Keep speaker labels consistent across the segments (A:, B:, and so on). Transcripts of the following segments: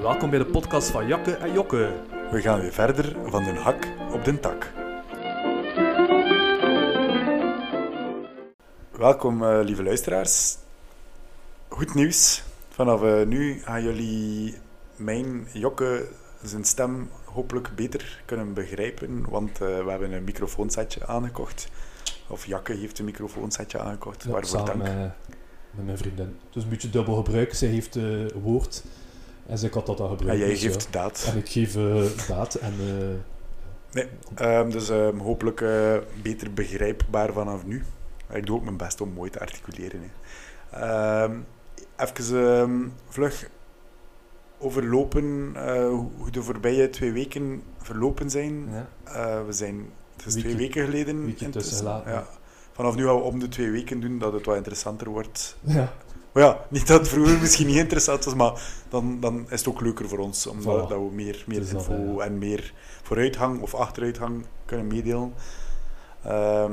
A: Welkom bij de podcast van Jakke en Jokke.
B: We gaan weer verder van den hak op den tak. Welkom, eh, lieve luisteraars. Goed nieuws. Vanaf eh, nu gaan jullie mijn Jokke zijn stem hopelijk beter kunnen begrijpen, want eh, we hebben een microfoonsetje aangekocht. Of Jakke heeft een microfoonsetje aangekocht,
C: Ja,
B: waarvoor
C: samen
B: dank.
C: Met, met mijn vriendin. Dus een beetje dubbel gebruik. Zij heeft eh, woord en zij kan dat dan
B: En
C: gebruiken.
B: Ah, jij
C: dus ja.
B: geeft daad.
C: En ik geef eh, daad en eh,
B: Ehm, dus ehm, hopelijk eh, beter begrijpbaar vanaf nu. Ik doe ook mijn best om mooi te articuleren. Hè. Ehm, even ehm, vlug overlopen eh, hoe- hoe de voorbije twee weken verlopen zijn.
C: ja.
B: Eh, we zijn, het is twee
C: Weekje-
B: weken geleden.
C: weekje
B: intussen.
C: tussen laten.
B: Ja. Vanaf nu gaan we om de twee weken doen, dat het wat interessanter wordt.
C: ja.
B: Maar ja, niet dat het vroeger misschien niet interessant was, maar dan, dan is het ook leuker voor ons. Omdat
C: Voilà.
B: dat we meer, meer
C: Het is dat,
B: info
C: ja.
B: en meer vooruitgang of achteruitgang kunnen meedelen. Ehm,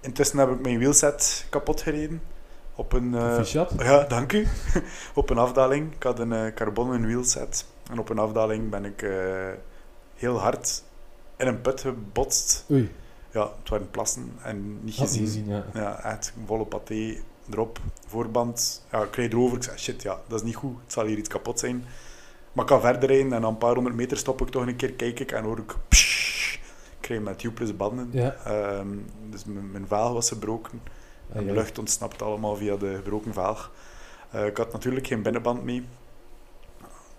B: intussen heb ik mijn wheelset kapot gereden. Op een, eh,
C: Proficiat.
B: ja, dank u. op een afdaling. Ik had een eh, carbonnen wheelset. En op een afdaling ben ik eh, heel hard in een put gebotst.
C: Oei,
B: Ja, het waren plassen en niet
C: had niet
B: gezien.
C: gezien, ja.
B: Ja, echt volle paté erop, voorband. Ja, ik rijd erover, ik zeg shit, ja, dat is niet goed, het zal hier iets kapot zijn. Maar ik kan verder rijden en na een paar honderd meter stop ik toch een keer, kijk ik en hoor ik pssst. Ik rijd met tubeless banden.
C: Ja,
B: Ehm, dus mijn, mijn vaal was gebroken en
C: en
B: de lucht ontsnapt allemaal via de gebroken vaag. Eh, ik had natuurlijk geen binnenband mee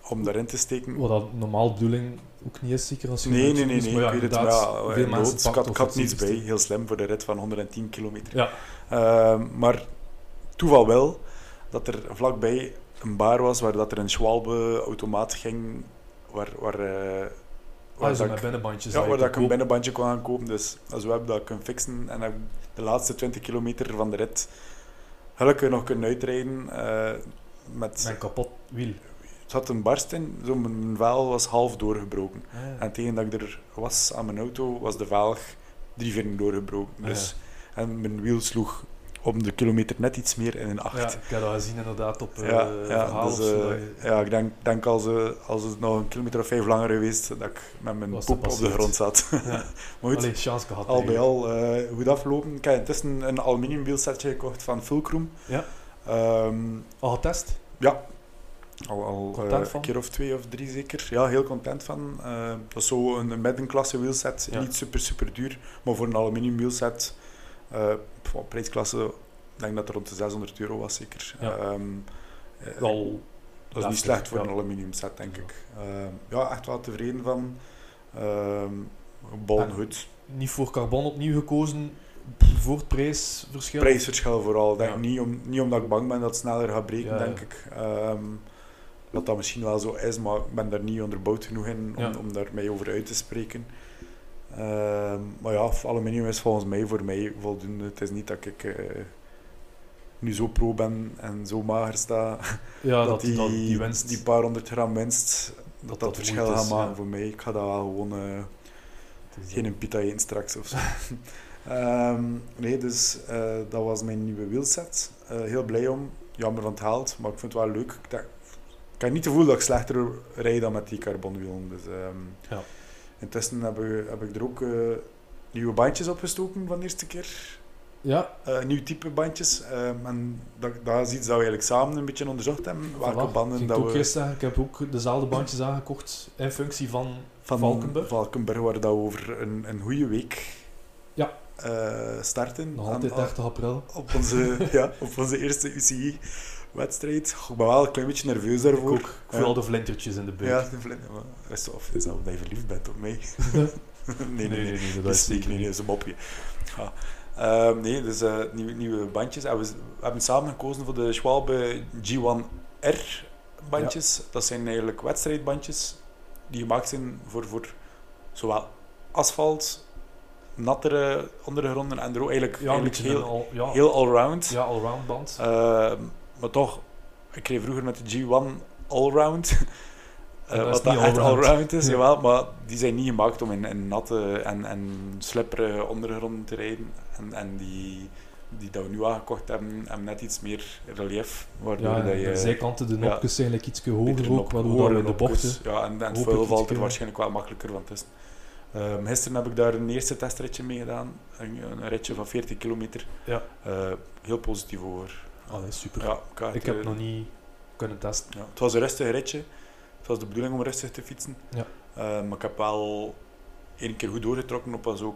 B: om daarin te steken.
C: Wat dat normaal bedoeling ook niet is, zeker als je
B: Nee,
C: eruit
B: nee, nee,
C: moet,
B: nee.
C: maar ja,
B: ik weet het, maar
C: inderdaad,
B: ja,
C: veel
B: in
C: mensen
B: nood, ik
C: pakt
B: had,
C: of
B: ik had
C: het
B: niets
C: ziet.
B: bij. Heel slim voor de rit van 110 kilometer.
C: Ja.
B: Ehm, maar toeval wel dat er vlakbij een bar was waar dat er een Schwalbe-automaat ging. Waar, waar, eh, waar
C: Ah,
B: dat
C: zo met
B: ik-
C: binnenbandjes.
B: ja, waar dat ik een
C: koop.
B: binnenbandje kon gaan kopen. Dus als web dat ik kan fixen. En heb ik de laatste 20 kilometer van de rit gelukkig nog kunnen uitrijden. eh, met,
C: Met een kapot wiel.
B: het had een barst in, zo mijn mijn vaal was half doorgebroken.
C: Ah,
B: En tegen dat ik er was aan mijn auto, was de velg drie vieren doorgebroken.
C: Ah,
B: Dus, En mijn wiel sloeg om de kilometer net iets meer in een
C: ja,
B: acht.
C: ik heb dat gezien inderdaad op
B: Ja,
C: eh
B: ja,
C: verhaal
B: dus,
C: of zo, dat
B: eh,
C: je-
B: ja ik denk, denk als, eh, als het nog een kilometer of vijf langer geweest, dat ik met mijn
C: Was dat
B: poep op de
C: passeerd.
B: grond zat.
C: Ja.
B: maar goed,
C: Allee, chance gehad.
B: al bij
C: eigenlijk.
B: al eh, goed aflopen. Ik heb intussen een aluminium wielsetje gekocht van Fulcrum.
C: Ja.
B: Ehm,
C: Al getest?
B: Ja. Al, al eh,
C: Content van?
B: een keer of twee of drie zeker. Ja, heel content van. Eh, dat is zo een middenklasse wielset.
C: Ja.
B: Niet super, super duur. Maar voor een aluminium wielset, eh, van prijsklasse, ik denk dat het rond de 600 euro was zeker.
C: Ja.
B: Ehm, eh,
C: Al.
B: dat is niet
C: heftig,
B: slecht voor
C: ja.
B: een aluminium set, denk
C: Ja.
B: ik. Ehm, ja, echt wel tevreden van. Ehm Bal
C: En-
B: goed.
C: niet voor carbon opnieuw gekozen voor het prijsverschil.
B: Prijsverschil vooral. Denk
C: Ja.
B: niet, om, niet omdat ik bang ben dat het sneller gaat breken,
C: Ja, ja.
B: denk ik. Ehm, dat dat misschien wel zo is, maar ik ben daar niet onderbouwd genoeg in om,
C: Ja.
B: om daar mij over uit te spreken. Ehm, maar ja, aluminium is volgens mij voor mij voldoende. Het is niet dat ik eh, nu zo pro ben en zo mager sta.
C: Ja, dat, die, dat, die winst.
B: die paar honderd gram winst, dat dat,
C: dat
B: verschil
C: moeite
B: gaat
C: is,
B: maken
C: ja.
B: voor mij. Ik ga dat wel gewoon... eh,
C: het is
B: geen
C: dan-
B: een pita eten straks of zo. Ehm, nee, dus eh, dat was mijn nieuwe wielset. Eh, heel blij om. Jammer van het haalt, maar ik vind het wel leuk. Ik, denk- ik heb niet het gevoel dat ik slechter rijd dan met die carbonwielen. Dus, ehm,
C: Ja.
B: Intussen heb, ik- heb ik er ook eh, nieuwe bandjes opgestoken van de eerste keer.
C: Ja,
B: Eh, nieuw type bandjes. Ehm, en dat, dat is iets dat we eigenlijk samen een beetje onderzocht hebben. Welke
C: voilà.
B: banden
C: Ging
B: dat
C: ik ook
B: we
C: eerst zeggen, ik heb ook dezelfde bandjes aangekocht in functie van...
B: van
C: Valkenburg?
B: Valkenburg, waar dat we over een, een goede week
C: Ja.
B: eh, starten.
C: Nog
B: Aan-
C: altijd
B: aan-
C: 30 april.
B: op onze, ja, op onze eerste UCI-wedstrijd. Ik ben wel een klein beetje nerveus daarvoor.
C: Ik ook. Ik voel
B: Ja.
C: al de flintertjes in de buik.
B: Ja, de vlinder, maar is het of is dat omdat je verliefd bent op mij? nee, nee, nee.
C: nee,
B: Dat is niet, nee, nee, dat is een mopje. Ja. Ehm, nee, dus eh, nieuwe, nieuwe bandjes. En we, we hebben samen gekozen voor de Schwalbe G1R bandjes. Dat zijn eigenlijk wedstrijdbandjes die gemaakt zijn voor, voor zowel asfalt, nattere ondergronden en er ook eigenlijk,
C: Ja, een
B: eigenlijk
C: beetje
B: heel,
C: een al, ja,
B: heel allround.
C: ja, allround band.
B: Ehm, maar toch, ik reed vroeger met de G1 Allround. Eh,
C: En dat is
B: wat dat
C: niet
B: echt
C: allround.
B: allround is,
C: Ja.
B: jawel, maar die zijn niet gemaakt om in, in natte en, en slipperige ondergronden te rijden. En, en die die dat we nu aangekocht hebben, hebben net iets meer relief. Waardoor
C: Ja,
B: dat je
C: de zijkanten, de
B: ja.
C: nopjes zijn like iets
B: beter
C: hoger ook,
B: nop-
C: waardoor dat we de
B: hogere
C: bochten...
B: nopjes- Ja, en, en het
C: hopelijk
B: vuil
C: iets
B: valt er
C: kunnen.
B: waarschijnlijk wel makkelijker van tussen. Ehm, gisteren heb ik daar een eerste testritje mee gedaan. Een, een ritje van 40 kilometer.
C: Ja.
B: Eh, heel positief over.
C: Allee, super.
B: Ja, ik, had,
C: Ik heb
B: eh,
C: nog niet kunnen testen.
B: ja, het was een rustig ritje. Het was de bedoeling om rustig te fietsen.
C: Ja.
B: Eh, maar ik heb wel één keer goed doorgetrokken op zo'n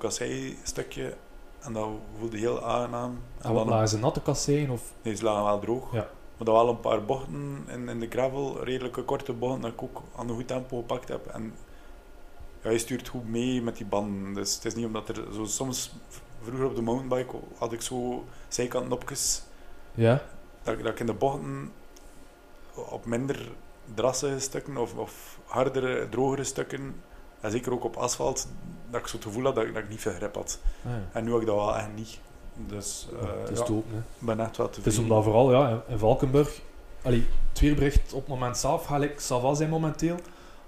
B: kassei-stukje. En dat voelde heel aangenaam.
C: En wat
B: dan-
C: lagen ze natte kasseien of...
B: Nee, ze lagen wel droog.
C: Ja.
B: Maar dan wel een paar bochten in, in de gravel, redelijke korte bochten, dat ik ook aan een goed tempo gepakt heb. En ja, je stuurt goed mee met die banden. Dus het is niet omdat er zo soms, v- vroeger op de mountainbike, had ik zo zijkantnopjes,
C: Ja?
B: dat, ik- dat ik in de bochten op minder drassige stukken of, of hardere, drogere stukken, en zeker ook op asfalt, dat ik zo het gevoel had dat, ik- dat ik niet veel grip had.
C: Ah, ja.
B: En nu heb ik dat wel echt niet. Dus eh,
C: het is
B: ja,
C: te open, hè.
B: ik ben echt wel tevreden.
C: Het is omdat vooral ja, in- in Valkenburg. Allee, Twierbrecht op het moment zelf ga ik Sava zijn momenteel.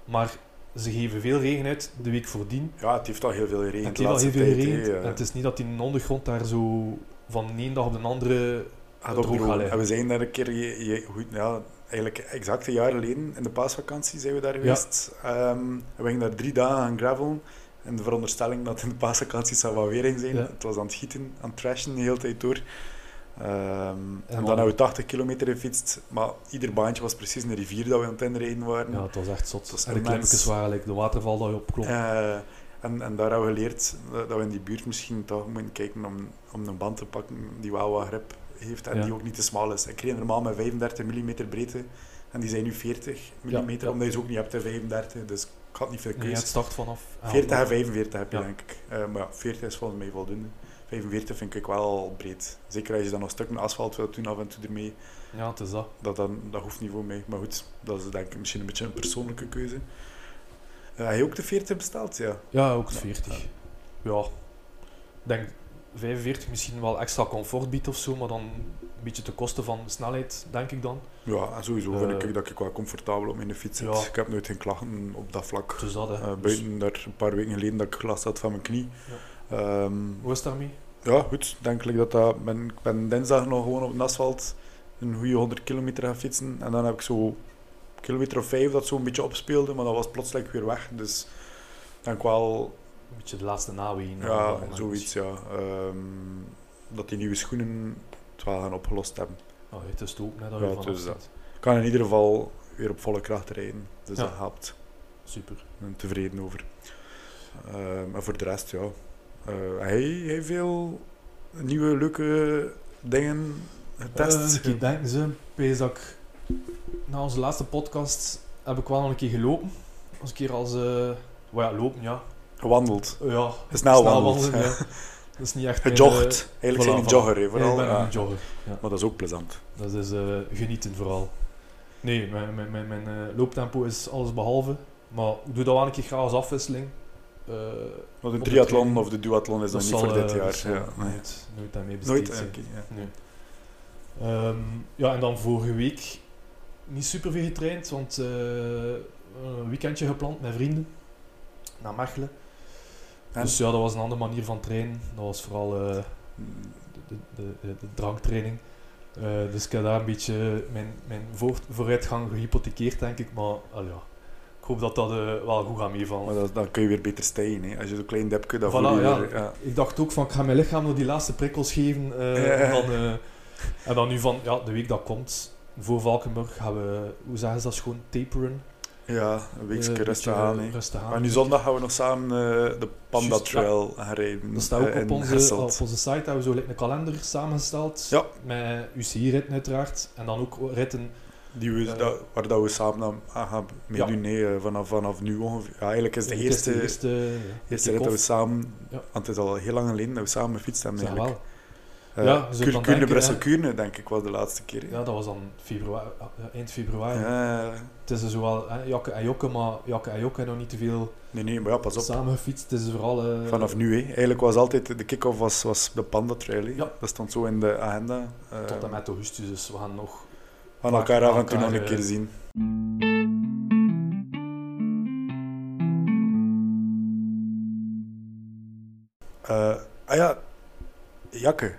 C: Maar ze geven veel regen uit de week voordien.
B: Ja, het heeft al heel veel
C: En
B: geregend.
C: het
B: de
C: heeft al heel
B: laatste eh.
C: veel
B: tijd,
C: geregend.
B: hè.
C: En het is niet dat die in de ondergrond daar zo van de ene dag op de andere.
B: Gaat
C: droog
B: opdrogen.
C: gaan liggen.
B: En we zijn daar een keer, je, je- goed, ja, eigenlijk exact een jaar geleden, in de paasvakantie zijn we daar geweest. Ehm, we gingen daar drie dagen aan gravelen. In de veronderstelling dat in de paasvakantie zou wel weer in zijn.
C: Ja.
B: Het was aan het gieten, aan het trashen de hele tijd door. Ehm, en
C: dan-
B: dan hebben we 80 kilometer gefietst. Maar ieder baantje was precies een rivier dat we aan het inrijden waren.
C: Ja, het was echt zot.
B: was
C: en de
B: immens.
C: klimpjes waren like, de waterval dat je opklom.
B: Eh, en, en daar hebben we geleerd dat dat we in die buurt misschien toch moeten kijken om, om een band te pakken die wel wat grip heeft en
C: Ja.
B: die ook niet te smal is. Ik kreeg normaal met 35 mm breedte en die zijn nu 40 mm,
C: ja.
B: omdat je ze ook niet hebt in 35, dus ik had niet veel
C: Nee, het
B: keuze.
C: start vanaf.
B: 40 en 45 heb je,
C: Ja.
B: denk ik. Eh, maar ja, 40 is volgens mij voldoende. 45 vind ik wel breed. Zeker als je dan nog stukken asfalt wilt doen af en toe ermee.
C: Ja, het is dat.
B: Dat, dan, dat hoeft niet voor mij. Maar goed, dat is denk ik misschien een beetje een persoonlijke keuze. Eh, heb je ook de 40 besteld? Ja.
C: Ja, ook
B: Ja.
C: 40. Ja. Ik denk 45 misschien wel extra comfort biedt of zo, maar dan een beetje te kosten van snelheid, denk ik dan.
B: Ja, en sowieso vind
C: Eh,
B: ik dat ik wel comfortabel op mijn fiets zit.
C: ja.
B: Ik heb nooit geen klachten op dat vlak.
C: Dus dat, hè.
B: Eh,
C: Dus
B: buiten daar een paar weken geleden dat ik last had van mijn knie. Ja,
C: hoe is het daarmee?
B: ja goed. Denk ik dat dat... Ben, ik ben dinsdag nog gewoon op het asfalt een goede 100 kilometer gaan fietsen. En dan heb ik zo een kilometer of vijf dat zo een beetje opspeelde, maar dat was plotseling weer weg. Dus denk wel...
C: Een beetje de laatste naweeën. eh,
B: Ja,
C: op dat moment.
B: zoiets, ja. Ehm, dat die nieuwe schoenen het wel gaan opgelost hebben.
C: Oh, het is toch ook net dat
B: Ja,
C: je
B: het
C: vanaf
B: is
C: zit.
B: Ik kan in ieder geval weer op volle kracht rijden. Dus
C: Ja.
B: dat helpt.
C: Super.
B: Ik ben tevreden over. Eh, maar voor de rest, ja. Eh, hij hij heeft veel nieuwe leuke dingen getest.
C: Eh, ik denk ze, pees dat ik... Na onze laatste podcast heb ik wel nog een keer gelopen. Als een keer als... eh well, ja, lopen, ja.
B: gewandeld.
C: Eh, ja.
B: Snel wandeld.
C: wandelen,
B: hè.
C: ja. Dat is niet echt... mijn, eh,
B: Gejogd. Eigenlijk zijn
C: voilà,
B: die
C: voilà.
B: jogger, hè,
C: ja, ik
B: vooral.
C: ben
B: Ja.
C: een jogger. Ja.
B: Maar dat is ook plezant.
C: Dat is eh, genieten vooral. Nee, mijn, mijn, mijn, mijn eh, looptempo is alles behalve. Maar ik doe dat wel een keer graag als afwisseling. Eh,
B: Want
C: Op
B: een
C: de
B: triathlon
C: training.
B: of de duathlon is
C: dat
B: nog niet
C: zal,
B: voor dit
C: eh,
B: jaar.
C: dat zal
B: Ja, nee.
C: nooit, nooit aan mee besteed
B: Nooit? eh.
C: zijn.
B: oké, ja.
C: Nee. Ehm, ja, en dan vorige week niet super veel getraind, want eh, een weekendje gepland met vrienden naar Mechelen.
B: En?
C: Dus ja, dat was een andere manier van trainen. Dat was vooral eh,
B: Mm.
C: de, de, de, de- de dranktraining. Eh, dus ik heb daar een beetje mijn, mijn voor- vooruitgang gehypothekeerd, denk ik. Maar ah ja, ik hoop dat dat eh, wel goed gaat meevallen.
B: Maar dat, dan kun je weer beter stijgen. Hè. Als je zo'n klein depje, dan
C: Voilà,
B: voel je
C: ja.
B: weer, ja.
C: Ik dacht ook van, ik ga mijn lichaam nog die laatste prikkels geven. eh,
B: Ja.
C: en, dan, eh, en dan nu van, ja, de week dat komt, voor Valkenburg, gaan we, hoe zeggen ze dat, gewoon taperen.
B: Ja, een weekje
C: Eh, een
B: rustig
C: beetje,
B: aan.
C: eh,
B: hè.
C: Rustig aan.
B: Maar nu zondag gaan we nog samen eh, de Panda
C: Juist, ja.
B: Trail gaan rijden.
C: Dat staat ook
B: eh,
C: op
B: in
C: onze,
B: Hasselt.
C: op onze site, hebben we zo like, een kalender samengesteld.
B: Ja.
C: Met UCI-ritten uiteraard. En dan ook ritten,
B: Die we,
C: Eh,
B: dat- waar dat we samen aan aan gaan
C: ja.
B: meedoen, hè, eh, vanaf, vanaf nu ongeveer. Ja, eigenlijk is de
C: het
B: eerste, eerste,
C: eerste,
B: rit dat
C: ja,
B: we
C: kick-off.
B: samen,
C: Ja.
B: want het is al heel lang geleden dat we samen gefietst hebben
C: Zeg
B: eigenlijk.
C: wel.
B: Eh,
C: Ja, je zult
B: Kuur-
C: dan
B: Kuurne,
C: denken,
B: Brussel,
C: hè.
B: Kuurne denk ik wel de laatste keer. Eh, hè.
C: Ja, dat was dan februari, ja, eind februari.
B: Ja,
C: Het is dus zowel hè, jakke en jokke, maar jakke en jokke hebben nog niet te veel
B: nee, nee, maar ja, pas op.
C: samen gefietst. Het is vooral... eh,
B: Vanaf nu, hè. Eigenlijk was altijd de kick-off was, was de Panda Trail. hè.
C: Ja.
B: Dat stond zo in de agenda. Eh,
C: Tot en met augustus, dus we gaan nog...
B: we gaan elkaar af en toe
C: elkaar,
B: nog een
C: eh,
B: keer zien. Eh, ah ja, Jakke.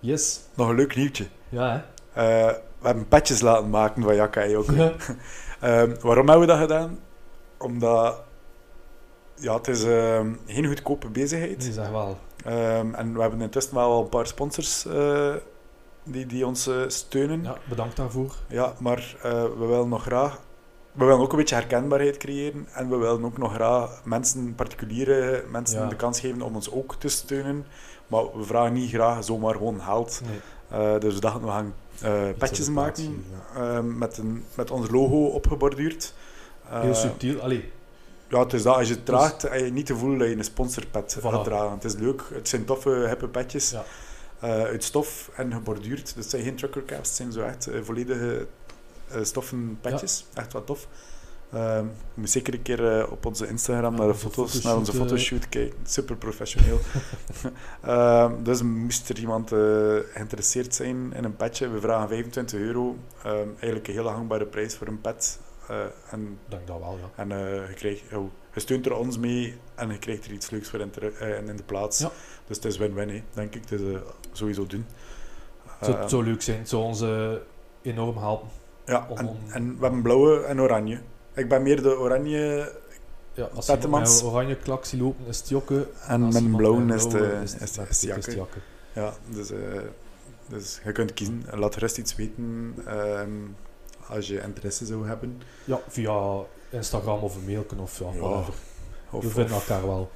C: Yes.
B: Nog een leuk nieuwtje.
C: Ja, hè?
B: Eh, we hebben petjes laten maken van Jacka en Jokke.
C: Ja.
B: Ehm, waarom hebben we dat gedaan? Omdat ja, het is ehm, geen goedkope bezigheid.
C: Nee, zeg wel.
B: Ehm, en we hebben intussen wel al een paar sponsors eh, die, die ons eh, steunen. Ja,
C: Ja, bedankt daarvoor.
B: maar eh, we willen nog graag. We willen ook een beetje herkenbaarheid creëren. En we willen ook nog graag mensen, particuliere mensen,
C: Ja.
B: de kans geven om ons ook te steunen. Maar we vragen niet graag zomaar gewoon geld.
C: Nee.
B: Eh, dus we dachten, we gaan eh, petjes
C: adaptatie,
B: maken. eh, met, een, met ons logo opgeborduurd. Eh,
C: Heel subtiel. Allee,
B: ja, het is dat. Als je het draagt, heb je niet te voelen dat je een sponsorpet
C: Dus- Voilà.
B: gaat dragen. Het is leuk. Het zijn toffe, hippe petjes.
C: Ja.
B: Eh, uit stof en geborduurd. Dus het zijn geen trucker caps. Het zijn zo echt eh, volledige eh, stoffen petjes. Echt wat tof. Ehm, je moet zeker een keer eh, op onze Instagram
C: Ja,
B: naar, de
C: onze
B: foto's, naar
C: fotoshoot,
B: onze
C: eh.
B: fotoshoot kijken. Super professioneel. Ehm, dus moest er iemand eh, geïnteresseerd zijn in een petje, we vragen 25 euro. Ehm, eigenlijk een hele gangbare prijs voor een pet. Eh, en
C: dank dat wel, ja.
B: en eh, je, krijgt, oh, je steunt er ons mee en je krijgt er iets leuks voor in, teru- eh, in de plaats.
C: Ja.
B: Dus het is win-win, hè, denk ik. Dus eh, sowieso doen.
C: Het zou,
B: Eh,
C: het zou leuk zijn. Het zou ons eh, enorm helpen.
B: ja,
C: om-
B: en,
C: om-
B: en we hebben blauwe en oranje. Ik ben meer de oranje
C: Ja,
B: Petemans.
C: als iemand met een oranje klak ziet lopen, is het jokken.
B: en met
C: Als
B: een
C: iemand
B: blauwe
C: met
B: is
C: blauwe
B: de, is
C: het
B: de,
C: met-
B: is de
C: het
B: jakke.
C: jakken.
B: Ja, dus, eh, dus je kunt kiezen. Laat de rest iets weten ehm, als je interesse zou hebben.
C: Ja, via Instagram of een mail kunnen of ja,
B: Ja,
C: whatever.
B: Of,
C: We vinden
B: of,
C: elkaar wel.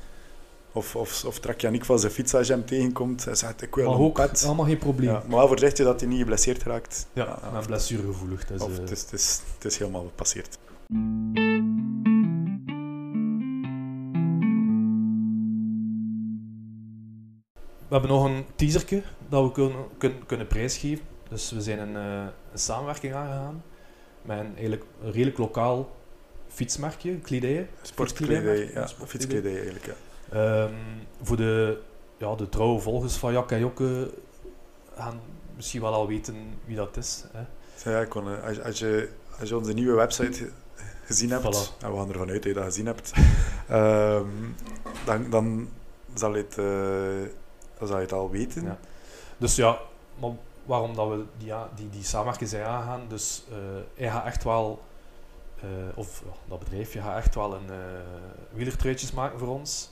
B: of, of, of trek Yannick van zijn fiets als je hem tegenkomt en zegt ik wil
C: Maar
B: een
C: ook,
B: pet.
C: allemaal geen probleem.
B: Ja,
C: Ja,
B: maar wel voorzichtig dat hij niet geblesseerd raakt.
C: ik ben blessuregevoelig. Dus,
B: Of
C: eh,
B: het is, het, is, het is helemaal gepasseerd.
C: We hebben nog een teaserke dat we kunnen, kunnen, kunnen prijsgeven. Dus we zijn een, eh, een samenwerking aangegaan met een, eigenlijk een redelijk lokaal fietsmerkje, Clideye.
B: Sportkledij, ja.
C: Sportkledij.
B: Fietskledij eigenlijk, ja.
C: Ehm, voor de, ja, de trouwe volgers van Jak en Jokke gaan misschien wel al weten wie dat is. Hè.
B: Zo, ja ik kon, eh, als, als, je, als je onze nieuwe website ge- gezien hebt,
C: Voilà.
B: en we gaan ervan uit dat je dat gezien hebt, ehm, dan, dan, zal je het, eh, dan zal je het al weten.
C: Ja. Dus ja, maar waarom dat we die, a- die, die samenwerking zijn aangegaan, dus eh, hij gaat echt wel, eh, of ja, dat bedrijfje gaat echt wel een eh wielertruitjes maken voor ons.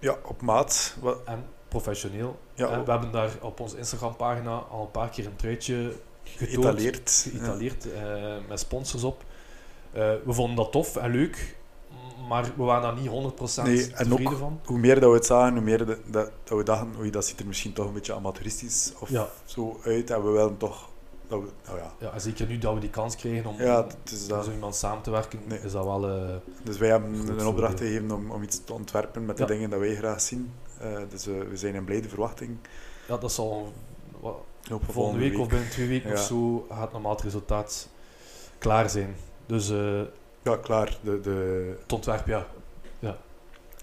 B: Ja, op maat. Wat,
C: en professioneel.
B: ja,
C: En Eh, we hebben daar op onze Instagram-pagina al een paar keer een truitje getoond,
B: geïtaleerd.
C: geïtaleerd, eh, met sponsors op. Eh, we vonden dat tof en leuk, m- maar we waren daar niet 100%
B: Nee, en
C: tevreden
B: ook-
C: van.
B: Ja. Hoe meer dat we het zagen, hoe meer de- dat, dat we dachten, oei, dat ziet er misschien toch een beetje amateuristisch of
C: Ja.
B: zo uit. En we willen toch... Dat we, nou ja,
C: Ja, en zeker nu dat we die kans kregen om
B: ja, het is
C: om
B: dat.
C: zo iemand samen te werken,
B: Nee.
C: is dat wel... eh,
B: Dus wij hebben
C: Goed
B: een
C: voorbeeld.
B: opdracht gegeven om, om iets te ontwerpen met
C: Ja.
B: de dingen dat wij graag zien. Eh, dus eh, we zijn in blijde verwachting.
C: ja, dat zal wa-
B: Op
C: volgende, week, of binnen twee weken of
B: Ja.
C: zo gaat normaal het resultaat klaar zijn. Dus eh,
B: Ja, klaar. De, de...
C: het ontwerp, ja,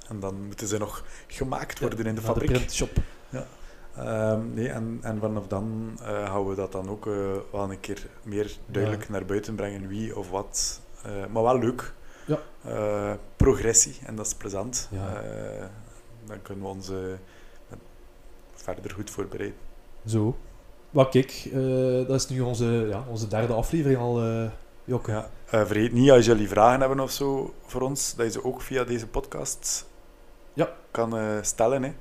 B: En dan moeten ze nog gemaakt worden in de
C: naar
B: fabriek.
C: de printshop.
B: Ehm, nee, en, en vanaf dan eh, gaan we dat dan ook eh, wel een keer meer duidelijk naar buiten brengen, wie of wat. Eh, maar wel leuk.
C: Ja.
B: Eh, progressie, en dat is plezant.
C: Ja.
B: Eh, dan kunnen we ons eh, verder goed voorbereiden.
C: Zo. Maar kijk, eh, dat is nu onze, ja, onze derde aflevering al, eh Jokke.
B: Ja, eh, vergeet niet, als jullie vragen hebben of zo voor ons, dat je ze ook via deze podcast
C: Ja.
B: kan eh, stellen. Hè.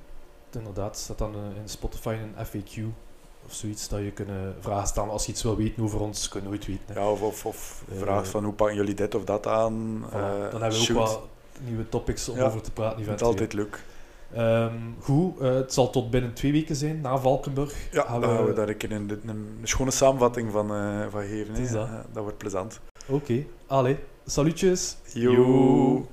C: Inderdaad, staat dan eh, in Spotify een FAQ of zoiets dat je kunnen vragen stellen. Als je iets wil weten over ons, kun je nooit weten. hè.
B: Ja, of of, of
C: Eh,
B: vraag van hoe pakken jullie dit of dat aan.
C: Voilà.
B: eh,
C: dan hebben we
B: shoot.
C: ook wat nieuwe topics om
B: Ja,
C: over te praten.
B: Het is
C: eventueel.
B: altijd leuk.
C: Ehm, goed, eh, het zal tot binnen twee weken zijn, na Valkenburg.
B: Ja,
C: Gaan
B: dan gaan we
C: Oké.
B: daar een keer een, een, een schone samenvatting van, eh, van geven.
C: Het is
B: hè.
C: dat.
B: Ja, dat wordt plezant.
C: Allee, salutjes.
B: Yo.
C: Yo.